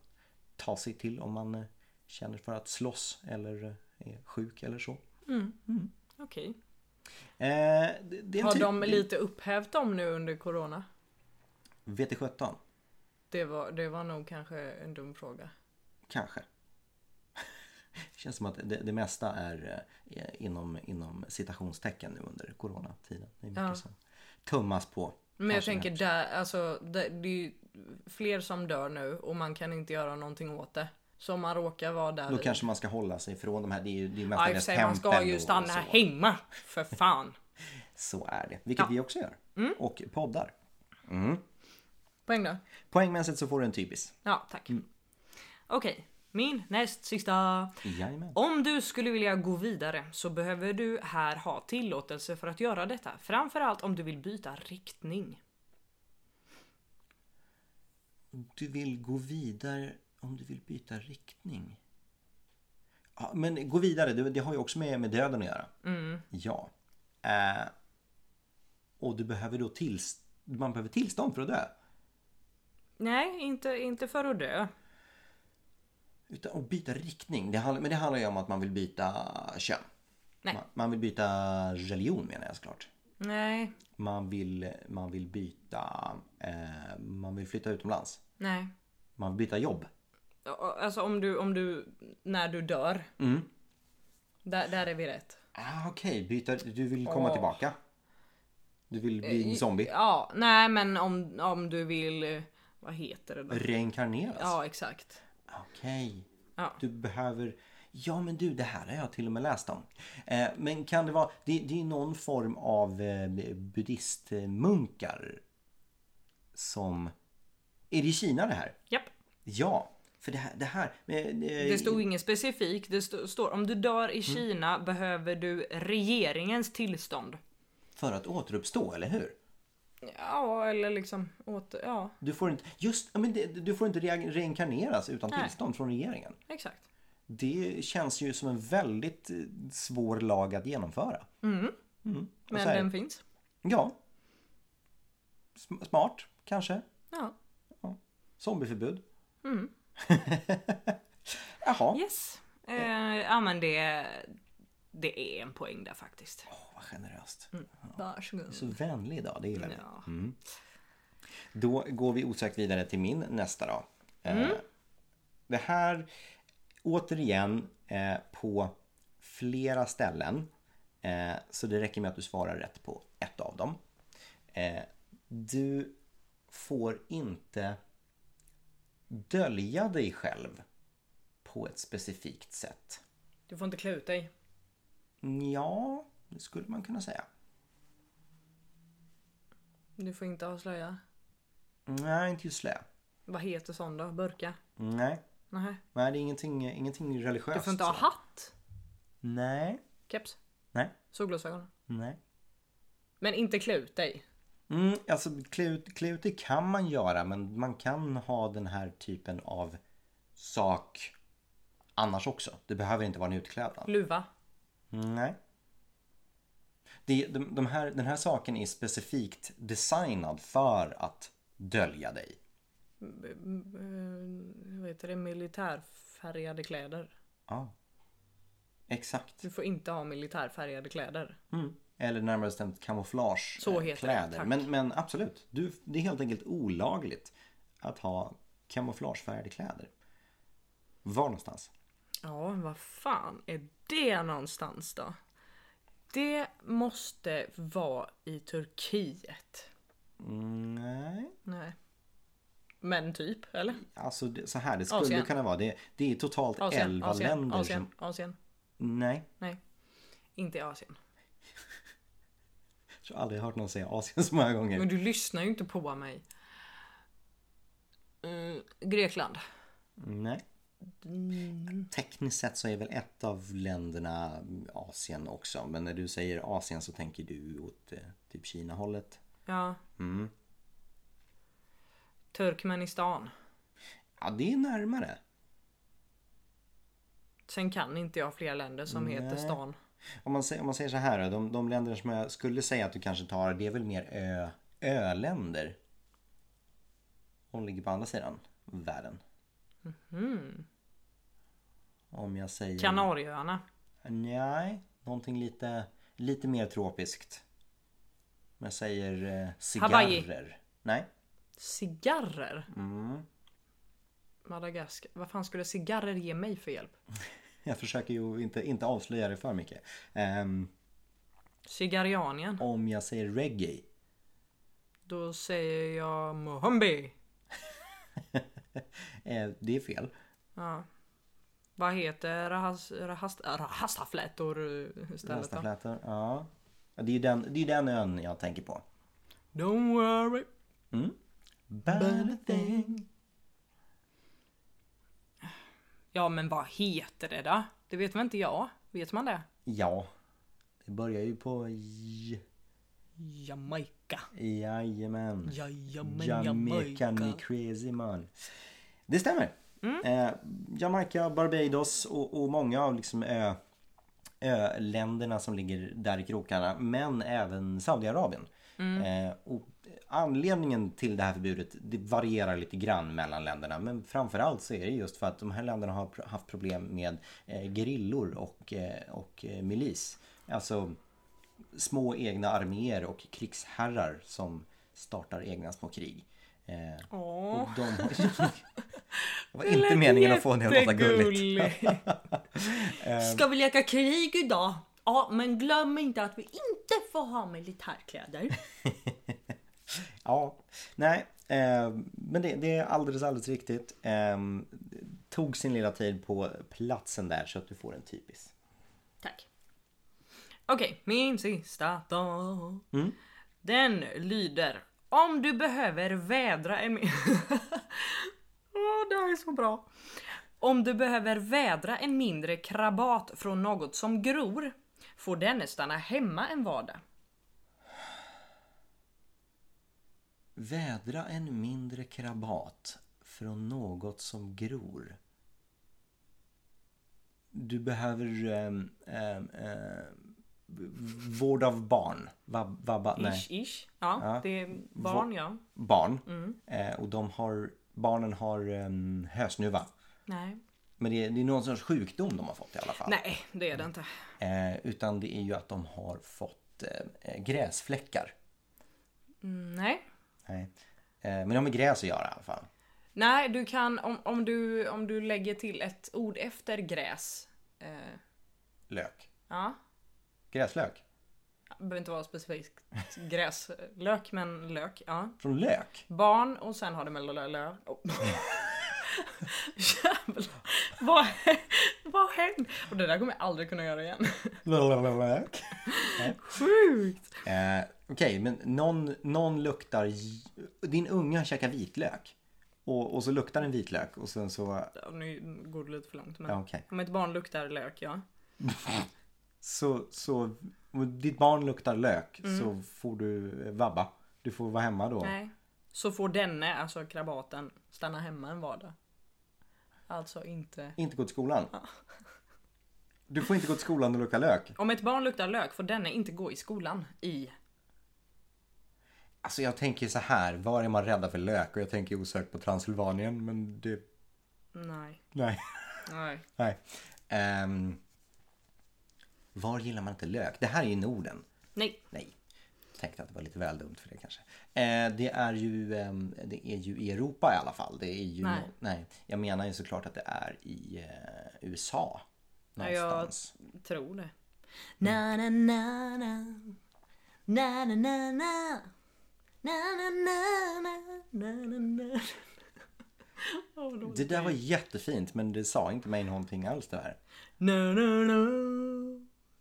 Speaker 1: ta sig till om man eh, känner för att slåss eller eh, är sjuk eller så. Eh,
Speaker 2: Okej.
Speaker 1: det, det är en
Speaker 2: Har
Speaker 1: typ,
Speaker 2: de lite upphävt dem nu under corona?
Speaker 1: Vete sjutton,
Speaker 2: Det var, det var nog kanske en dum fråga.
Speaker 1: kanske. *laughs* Det känns som att det, det mesta är eh, inom, inom citationstecken nu under coronatiden. Det är mycket
Speaker 2: Ja.
Speaker 1: som tummas på.
Speaker 2: Men jag
Speaker 1: Kanske
Speaker 2: tänker där, alltså där, det är ju fler som dör nu och man kan inte göra någonting åt det. Så om man råkar vara där.
Speaker 1: Då
Speaker 2: i-
Speaker 1: kanske man ska hålla sig ifrån de här. Det är ju det är ju
Speaker 2: Ja, i och för
Speaker 1: mestadels
Speaker 2: sig, man ska
Speaker 1: tempel
Speaker 2: ju
Speaker 1: och- och
Speaker 2: stanna
Speaker 1: så.
Speaker 2: hemma. För fan. *laughs*
Speaker 1: Så är det. Vilket vi också gör.
Speaker 2: Mm.
Speaker 1: Och poddar.
Speaker 2: Poäng då?
Speaker 1: Poängmässigt så får du en typisk.
Speaker 2: Ja, tack.
Speaker 1: Mm.
Speaker 2: Okej, min näst sista.
Speaker 1: Jajamän.
Speaker 2: Om du skulle vilja gå vidare så behöver du här ha tillåtelse för att göra detta. Framförallt om du vill byta riktning.
Speaker 1: Du vill gå vidare om du vill byta riktning. Ja, men gå vidare, det, det har ju också med, med döden att göra. Ja. Eh, och du behöver då tills, man behöver tillstånd för att dö.
Speaker 2: Nej, inte, inte för att dö.
Speaker 1: Utan att byta riktning, det handlar, men det handlar ju om att man vill byta kön.
Speaker 2: Nej.
Speaker 1: Man, man vill byta religion menar jag såklart.
Speaker 2: Nej,
Speaker 1: Man vill, man vill byta, eh, man vill flytta utomlands.
Speaker 2: nej.
Speaker 1: Man vill byta jobb.
Speaker 2: Alltså om du, om du, när du dör.
Speaker 1: Mm.
Speaker 2: Där, där är vi rätt.
Speaker 1: Ah, Okej, byta, du vill komma
Speaker 2: Åh. Eh,
Speaker 1: tillbaka. Du vill bli en zombie.
Speaker 2: Ja, nej men om, om du vill, eh, vad heter det då?
Speaker 1: Reinkarneras?
Speaker 2: Ja, exakt.
Speaker 1: Okej.
Speaker 2: Ja.
Speaker 1: Du behöver... Ja men du, det här har jag till och med läst om. Eh, men kan det vara... Det, det är någon form av eh, buddhistmunkar som... Är det i Kina det här?
Speaker 2: Japp.
Speaker 1: Ja. För det här... Det, här, eh, eh,
Speaker 2: Det stod inget specifikt. Det sto- står om du dör
Speaker 1: Mm.
Speaker 2: i Kina behöver du regeringens tillstånd.
Speaker 1: För att återuppstå, eller hur?
Speaker 2: Ja, eller liksom åter... Ja,
Speaker 1: Du får inte, just, ja, men det, du får inte re- reinkarneras utan
Speaker 2: Nej.
Speaker 1: tillstånd från regeringen.
Speaker 2: exakt.
Speaker 1: Det känns ju som en väldigt eh, svår lag att genomföra. Mm. Och
Speaker 2: Men
Speaker 1: så här,
Speaker 2: den finns.
Speaker 1: Ja. Sm- Smart, kanske.
Speaker 2: Ja.
Speaker 1: Zombieförbud. *laughs* Jaha,
Speaker 2: Yes. Eh, ja men det... Det är en poäng där faktiskt.
Speaker 1: Åh, vad generöst.
Speaker 2: Varsågod.
Speaker 1: Så vänlig idag, det gillar vi.
Speaker 2: Ja.
Speaker 1: Då går vi osökt vidare till min nästa då.
Speaker 2: Mm.
Speaker 1: Eh, det här, återigen, eh, på flera ställen. Eh, så det räcker med att du svarar rätt på ett av dem. Eh, du får inte dölja dig själv på ett specifikt sätt.
Speaker 2: Du får inte klä ut dig.
Speaker 1: Ja, det skulle man kunna säga.
Speaker 2: Du får inte ha slöja.
Speaker 1: Nej, inte just det.
Speaker 2: Vad heter sån då? Burka?
Speaker 1: Nej.
Speaker 2: Nähä.
Speaker 1: Nej, det är ingenting, ingenting religiöst.
Speaker 2: Du får inte ha hatt.
Speaker 1: Nej,
Speaker 2: Keps.
Speaker 1: nej,
Speaker 2: Solglasögon.
Speaker 1: nej.
Speaker 2: Men inte klä ut dig.
Speaker 1: Mm, alltså klä ut- klä ut det kan man göra men man kan ha den här typen av sak annars också. Det behöver inte vara en utklädnad.
Speaker 2: Luva.
Speaker 1: Nej. Det, de, de här, den här saken är specifikt designad för att dölja dig.
Speaker 2: Mm, Eh, vad heter det? Militärfärgade kläder.
Speaker 1: Ja. Exakt.
Speaker 2: Du får inte ha militärfärgade kläder.
Speaker 1: Mm. Eller närmare bestämt kamouflage
Speaker 2: Så
Speaker 1: eh,
Speaker 2: heter det,
Speaker 1: kläder.
Speaker 2: tack.
Speaker 1: men, men absolut, du, det är helt enkelt olagligt att ha kamouflagefärgade kläder. Var någonstans?
Speaker 2: Ja, vad fan är det någonstans då? Det måste vara i Turkiet.
Speaker 1: Mm, nej,
Speaker 2: Nej. Men typ, eller?
Speaker 1: alltså det, så här det skulle
Speaker 2: Asien.
Speaker 1: kunna vara. Det, det är totalt
Speaker 2: Asien,
Speaker 1: 11
Speaker 2: Asien,
Speaker 1: länder
Speaker 2: Asien,
Speaker 1: som...
Speaker 2: Asien.
Speaker 1: Nej,
Speaker 2: Nej. Inte i Asien.
Speaker 1: jag har aldrig hört någon säga Asien så många gånger.
Speaker 2: Men du lyssnar ju inte på mig. Mm, Grekland. Mm.
Speaker 1: Nej. Tekniskt sett så är väl ett av länderna Asien också. Men när du säger Asien så tänker du åt eh, typ Kina-hållet.
Speaker 2: Ja. Turkmenistan.
Speaker 1: Ja, det är närmare.
Speaker 2: Sen kan inte jag fler länder som heter stan.
Speaker 1: Om man, säger, om man säger så här då, de, de länder som jag skulle säga att du kanske tar det är väl mer ö, öländer. De ligger på andra sidan världen. Om jag säger...
Speaker 2: Kanarieöarna.
Speaker 1: Nej, någonting lite, lite mer tropiskt. Om jag säger eh, cigarrer.
Speaker 2: Hawaii.
Speaker 1: Nej,
Speaker 2: Cigarrer? Madagaskar. Vad fan skulle cigarrer ge mig för hjälp?
Speaker 1: jag försöker ju inte, inte avslöja det för mycket. Ehm,
Speaker 2: Cigarianien.
Speaker 1: om jag säger reggae.
Speaker 2: Då säger jag Mohombi.
Speaker 1: Eh, det är fel.
Speaker 2: Vad heter rahas, rahas, rahastaflätor eh, stället då?
Speaker 1: Rastaflätor. Ja. Ja, Det är ju den, det är den ön jag tänker på.
Speaker 2: Don't worry.
Speaker 1: Bad thing.
Speaker 2: Ja men vad heter det då? Det vet väl inte jag? Vet man det?
Speaker 1: Ja, det börjar ju på J.
Speaker 2: Jamaica.
Speaker 1: Jajamän.
Speaker 2: Jajamän
Speaker 1: Jamaica me
Speaker 2: Jamaica.
Speaker 1: crazy man. Det stämmer. Eh, Jamaica, Barbados och, och många av liksom ö, öländerna som ligger där i krokarna. Men även Saudiarabien. Eh, och anledningen till det här förbudet det varierar lite grann mellan länderna. Men framförallt så är det just för att de här länderna har pr- haft problem med eh, grillor och, eh, och eh, milis. Alltså små egna arméer och krigsherrar som startar egna små krig. Eh,
Speaker 2: Åh,
Speaker 1: och
Speaker 2: *laughs*
Speaker 1: de *laughs* har... Det var inte meningen att få det att låta gulligt. *laughs*
Speaker 2: Jättegulligt. Ska vi leka krig idag? Ja, men glöm inte att vi inte får ha militärkläder.
Speaker 1: Ja, nej, eh, men det, det är alldeles, alldeles riktigt. Eh, tog sin lilla tid på platsen där så att du får en typisk.
Speaker 2: Tack. Okej, min sista dag.
Speaker 1: Mm.
Speaker 2: Den lyder. Om du behöver vädra en... *laughs* Åh, det här är så bra. Om du behöver vädra en mindre krabat från något som gror får denne stanna hemma en vardag.
Speaker 1: Vädra en mindre krabat från något som gror. Du behöver ehm, ehm, ehm, vård av barn. Vab, vabba, nej.
Speaker 2: Ish, ish. Ja,
Speaker 1: Ja.
Speaker 2: det är barn ja.
Speaker 1: Barn.
Speaker 2: Mm.
Speaker 1: Eh, och de har, barnen har um, hösnuva.
Speaker 2: Nej.
Speaker 1: Men det är, det är någon sorts sjukdom de har fått i alla fall.
Speaker 2: Nej, det är det inte.
Speaker 1: Eh, utan det är ju att de har fått eh, eh, gräsfläckar.
Speaker 2: Mm, Nej.
Speaker 1: Nej. Eh, men de har med gräs att göra i alla fall.
Speaker 2: Nej, du kan om, om, du, om du lägger till ett ord efter gräs. Eh,
Speaker 1: Lök.
Speaker 2: ja,
Speaker 1: Gräslök.
Speaker 2: det behöver inte vara specifikt gräslök men lök. Ja.
Speaker 1: Från lök.
Speaker 2: Barn och sen har du med lö... lö. *laughs* Oh. Jävlar. Vad, hä- vad hände? Och det där kommer jag aldrig kunna göra igen.
Speaker 1: Lök.
Speaker 2: Sjukt!
Speaker 1: Eh, Okej, men någon, någon luktar... Din unga käkar vitlök. Och, och så luktar den vitlök och sen så...
Speaker 2: Ja, nu går det lite för långt men.
Speaker 1: Ja, okej.
Speaker 2: Om ett barn luktar lök ja.
Speaker 1: Så, så... Om ditt barn luktar lök så får du eh, vabba. Du får vara hemma då.
Speaker 2: Nej. Så får denne, alltså krabaten, stanna hemma en vardag. Alltså inte...
Speaker 1: Inte gå till skolan. Du får inte gå till skolan och lukta lök.
Speaker 2: Om ett barn luktar lök får denne inte gå i skolan i...
Speaker 1: Alltså jag tänker så här, var är man rädda för lök? Och jag tänker osökt på Transylvanien, men det...
Speaker 2: Nej.
Speaker 1: Nej. *laughs*
Speaker 2: Nej.
Speaker 1: Nej. Ehm, var gillar man inte lök? Det här är ju Norden.
Speaker 2: Nej.
Speaker 1: Nej. Tänkte att det var lite väl dumt för det kanske. Eh, det, är ju, ehm, det är ju i Europa i alla fall. Det är ju,
Speaker 2: Nej.
Speaker 1: nej. Jag menar ju såklart att det är i eh, USA. Någonstans.
Speaker 2: Tror
Speaker 1: Mm.
Speaker 2: det. Na na na na. Na na na na. Na na na na. Na na na. Åh, då-
Speaker 1: Det där var jättefint men det sa inte mig någonting alls det här.
Speaker 2: Na na na.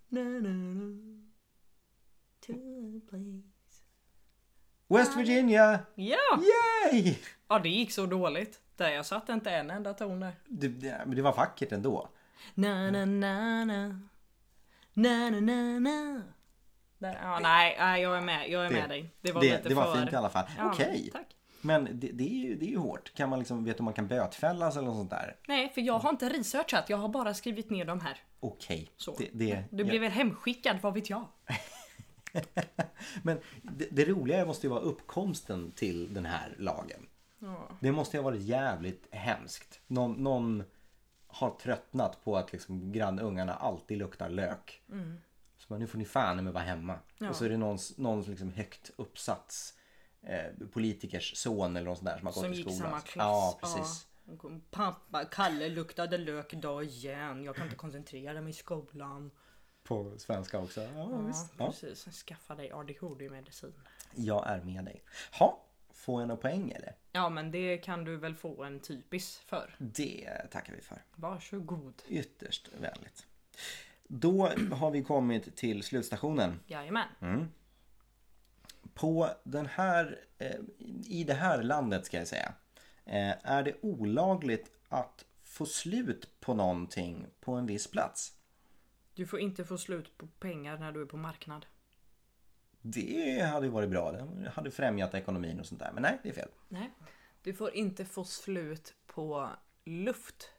Speaker 2: Na na na. To a place.
Speaker 1: West Virginia!
Speaker 2: Ja!
Speaker 1: Yay!
Speaker 2: Ja det gick så dåligt. Där jag satt inte en enda ton där.
Speaker 1: Det, det, men det var vackert ändå.
Speaker 2: Na na
Speaker 1: Mm.
Speaker 2: na na. Na na na na. Där, ja, nej, nej, jag är med. Jag är med dig. Det var
Speaker 1: det,
Speaker 2: lite
Speaker 1: det var
Speaker 2: för...
Speaker 1: fint i alla fall.
Speaker 2: Ja,
Speaker 1: Okej.
Speaker 2: Tack.
Speaker 1: Men det, det, är ju, det är ju hårt. Kan man liksom, vet du om man kan bötfällas eller något sånt där?
Speaker 2: Nej, för jag har inte researchat. Jag har bara skrivit ner de här.
Speaker 1: Okej.
Speaker 2: Så.
Speaker 1: Det, det,
Speaker 2: Du blir väl hemskickad, vad vet jag?
Speaker 1: Men det, det roliga måste ju vara uppkomsten till den här lagen. Det måste ju ha varit jävligt hemskt. Någon, någon har tröttnat på att liksom grannungarna alltid luktar lök.
Speaker 2: Mm.
Speaker 1: Så man, nu får ni fan med vara hemma. Och så är det någon, någon liksom högt uppsatts eh, politikers son eller någon sån där som har
Speaker 2: Som
Speaker 1: gått i
Speaker 2: gick
Speaker 1: skolan.
Speaker 2: i samma klass.
Speaker 1: Ja, precis.
Speaker 2: Ja. Hon kom, Pappa, Kalle luktade lök idag igen. Jag kan inte koncentrera mig i skolan.
Speaker 1: På svenska också. Ja,
Speaker 2: Ja,
Speaker 1: visst. Ja.
Speaker 2: precis. Skaffa dig ADHD-medicin.
Speaker 1: Jag är med dig. Ha, får jag några poäng eller?
Speaker 2: Ja, men det kan du väl få en typis för.
Speaker 1: Det tackar vi för.
Speaker 2: Varsågod.
Speaker 1: Ytterst vänligt. Då har vi kommit till slutstationen.
Speaker 2: Jajamän.
Speaker 1: Mm. På den här, eh, I det här landet ska jag säga. eh, Är det olagligt att få slut på någonting på en viss plats?
Speaker 2: Du får inte få slut på pengar när du är på marknad.
Speaker 1: Det hade ju varit bra. Det hade främjat ekonomin och sånt där. Men nej, det är fel.
Speaker 2: Nej. Du får inte få slut på luft.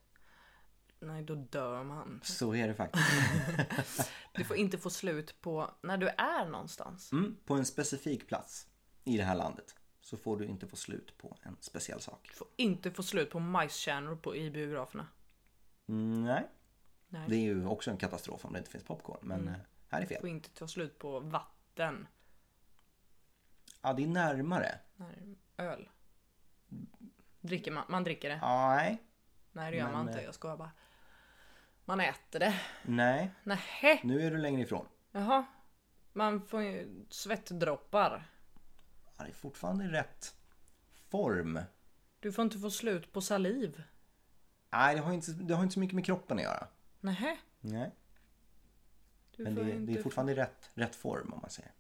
Speaker 2: Nej, då dör man.
Speaker 1: Så är det faktiskt.
Speaker 2: Du får inte få slut på när du är någonstans.
Speaker 1: Mm, på en specifik plats i det här landet så får du inte få slut på en speciell sak.
Speaker 2: Du får inte få slut på majskärnor på, i biograferna.
Speaker 1: Mm, nej.
Speaker 2: Nej.
Speaker 1: Det är ju också en katastrof om det inte finns popcorn. Men eh, här är
Speaker 2: Du
Speaker 1: fel.
Speaker 2: får inte ta slut på vatten.
Speaker 1: Ja, det är närmare.
Speaker 2: Nej, öl. Dricker man, man dricker det.
Speaker 1: Nej.
Speaker 2: Nej det gör man
Speaker 1: Men,
Speaker 2: inte,
Speaker 1: eh,
Speaker 2: jag skojar bara. Man äter det.
Speaker 1: Nej.
Speaker 2: Nähä!
Speaker 1: Nu är du längre ifrån.
Speaker 2: Jaha. Man får ju svettdroppar.
Speaker 1: Ja, det är fortfarande rätt form.
Speaker 2: Du får inte få slut på saliv.
Speaker 1: Nej, det har inte, det har inte så mycket med kroppen att göra.
Speaker 2: Nähä.
Speaker 1: Nej.
Speaker 2: Du,
Speaker 1: Men
Speaker 2: får
Speaker 1: det,
Speaker 2: inte,
Speaker 1: det är fortfarande rätt, rätt form om man säger.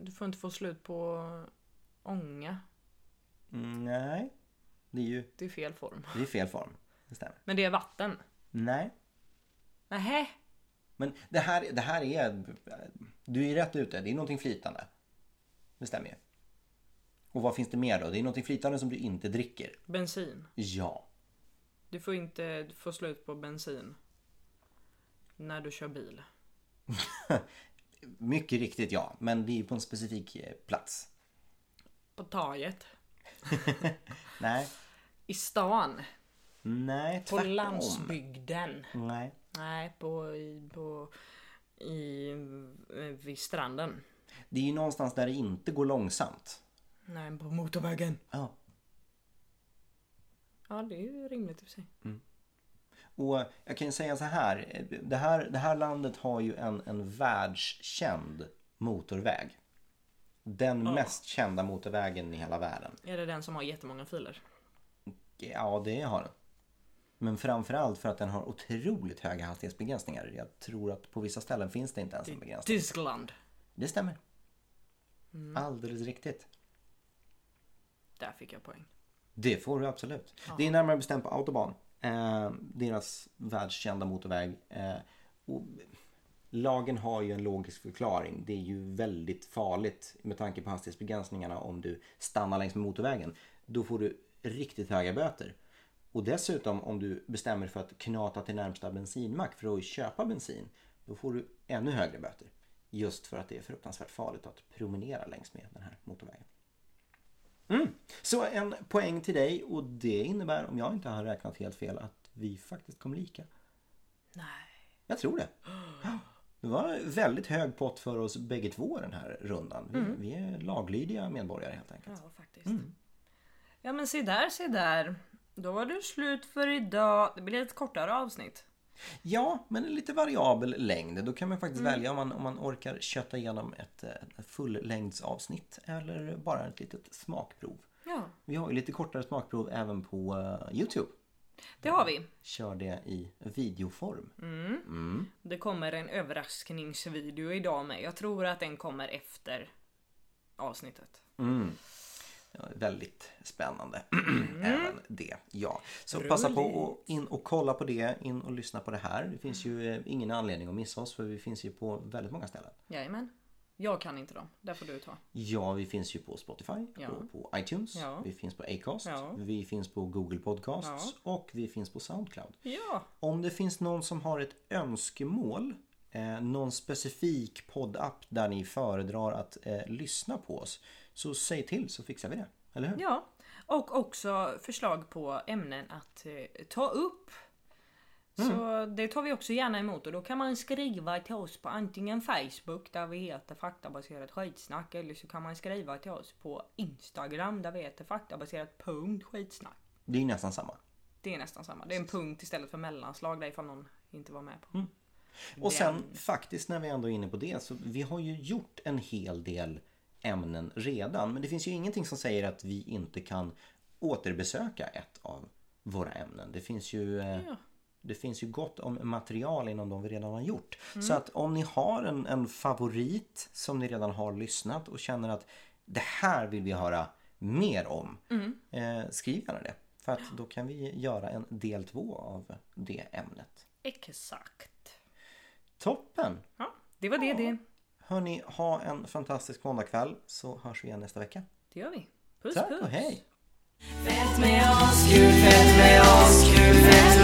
Speaker 2: du får inte få slut på ånga.
Speaker 1: Mm, Nej. Det är ju
Speaker 2: Det är fel form.
Speaker 1: det är fel form. Det stämmer.
Speaker 2: Men det är vatten.
Speaker 1: Nej.
Speaker 2: Nähä.
Speaker 1: Men det här, det här är... Du är rätt ute. Det är någonting flytande. Det stämmer ju. Och vad finns det mer då? Det är någonting flytande som du inte dricker.
Speaker 2: Bensin.
Speaker 1: Ja.
Speaker 2: Du får inte du får slut på bensin. När du kör bil.
Speaker 1: Mycket riktigt ja, men det är ju på en specifik eh, plats.
Speaker 2: På taget.
Speaker 1: Nej,
Speaker 2: I stan.
Speaker 1: nej,
Speaker 2: På
Speaker 1: tvärtom.
Speaker 2: landsbygden.
Speaker 1: Nej.
Speaker 2: Nej, på... I, på i, eh, vid stranden.
Speaker 1: Det är ju någonstans där det inte går långsamt.
Speaker 2: Nej, på motorvägen.
Speaker 1: Ja.
Speaker 2: Ja, det är ju rimligt i och för sig.
Speaker 1: Och jag kan ju säga så här. Det här, det här landet har ju en, en världskänd motorväg. Den mest kända motorvägen i hela världen.
Speaker 2: Är det den som har jättemånga filer?
Speaker 1: Ja, det har den. Men framförallt för att den har otroligt höga hastighetsbegränsningar. Jag tror att på vissa ställen finns det inte ens en begränsning.
Speaker 2: Tyskland.
Speaker 1: Det stämmer. Alldeles riktigt.
Speaker 2: Där fick jag poäng.
Speaker 1: Det får du absolut. Det är närmare bestämt på Autobahn. Eh, deras världskända motorväg. Eh, och lagen har ju en logisk förklaring. Det är ju väldigt farligt med tanke på hastighetsbegränsningarna om du stannar längs med motorvägen. Då får du riktigt höga böter. Och dessutom om du bestämmer dig för att knata till närmsta bensinmack för att köpa bensin. Då får du ännu högre böter. Just för att det är fruktansvärt farligt att promenera längs med den här motorvägen. Så en poäng till dig och det innebär, om jag inte har räknat helt fel, att vi faktiskt kom lika.
Speaker 2: Nej.
Speaker 1: Jag tror det. Det var en väldigt hög pott för oss bägge två den här rundan. Vi, vi är laglydiga medborgare helt enkelt.
Speaker 2: Ja, faktiskt. Ja, men se där, se där. Då var det slut för idag. Det blir ett kortare avsnitt.
Speaker 1: Ja, men en lite variabel längd. Då kan man faktiskt välja om man, om man orkar köta igenom ett, eh, ett fullängdsavsnitt eller bara ett litet smakprov.
Speaker 2: Ja,
Speaker 1: Vi har ju lite kortare smakprov även på eh, Youtube.
Speaker 2: det har vi.
Speaker 1: Kör det i videoform.
Speaker 2: Det kommer en överraskningsvideo idag med. Jag tror att den kommer efter avsnittet.
Speaker 1: Ja, Väldigt spännande. *clears throat*
Speaker 2: Mm.
Speaker 1: Även det. Ja. Så passa på att in och kolla på det, in och lyssna på det här. Det finns ju eh, ingen anledning att missa oss för vi finns ju på väldigt många ställen.
Speaker 2: Jajamän. Jag kan inte dem. Där får du ta.
Speaker 1: Ja, vi finns ju på Spotify,
Speaker 2: Ja.
Speaker 1: och på iTunes,
Speaker 2: Ja.
Speaker 1: vi finns på Acast,
Speaker 2: Ja.
Speaker 1: vi finns på Google Podcasts och vi finns på Soundcloud.
Speaker 2: Ja.
Speaker 1: Om det finns någon som har ett önskemål, eh, någon specifik poddapp där ni föredrar att eh, lyssna på oss, så säg till så fixar vi det. Eller hur?
Speaker 2: Ja. Och också förslag på ämnen att eh, ta upp. Så det tar vi också gärna emot och då kan man skriva till oss på antingen Facebook där vi heter faktabaserat skitsnack eller så kan man skriva till oss på Instagram där vi heter faktabaserat punkt skitsnack.
Speaker 1: Det är ju nästan samma.
Speaker 2: Det är nästan samma. Det är en punkt istället för mellanslag där ifall någon inte var med på.
Speaker 1: Mm. Och sen faktiskt när vi ändå är inne på det så vi har ju gjort en hel del ämnen redan men det finns ju ingenting som säger att vi inte kan återbesöka ett av våra ämnen. Det finns ju, eh, det finns ju gott om material inom de vi redan har gjort. Så att om ni har en, en favorit som ni redan har lyssnat och känner att det här vill vi höra mer om. Eh, skriv gärna det. För att då kan vi göra en del två av det ämnet.
Speaker 2: Exakt.
Speaker 1: Toppen!
Speaker 2: Ja, det var det det.
Speaker 1: Hörni, ha en fantastisk måndagkväll så hörs vi igen nästa vecka.
Speaker 2: Det gör vi. Puss
Speaker 1: Tack
Speaker 2: puss.
Speaker 1: och hej!
Speaker 3: Fett med oss, kul fett med oss, kul fett med oss.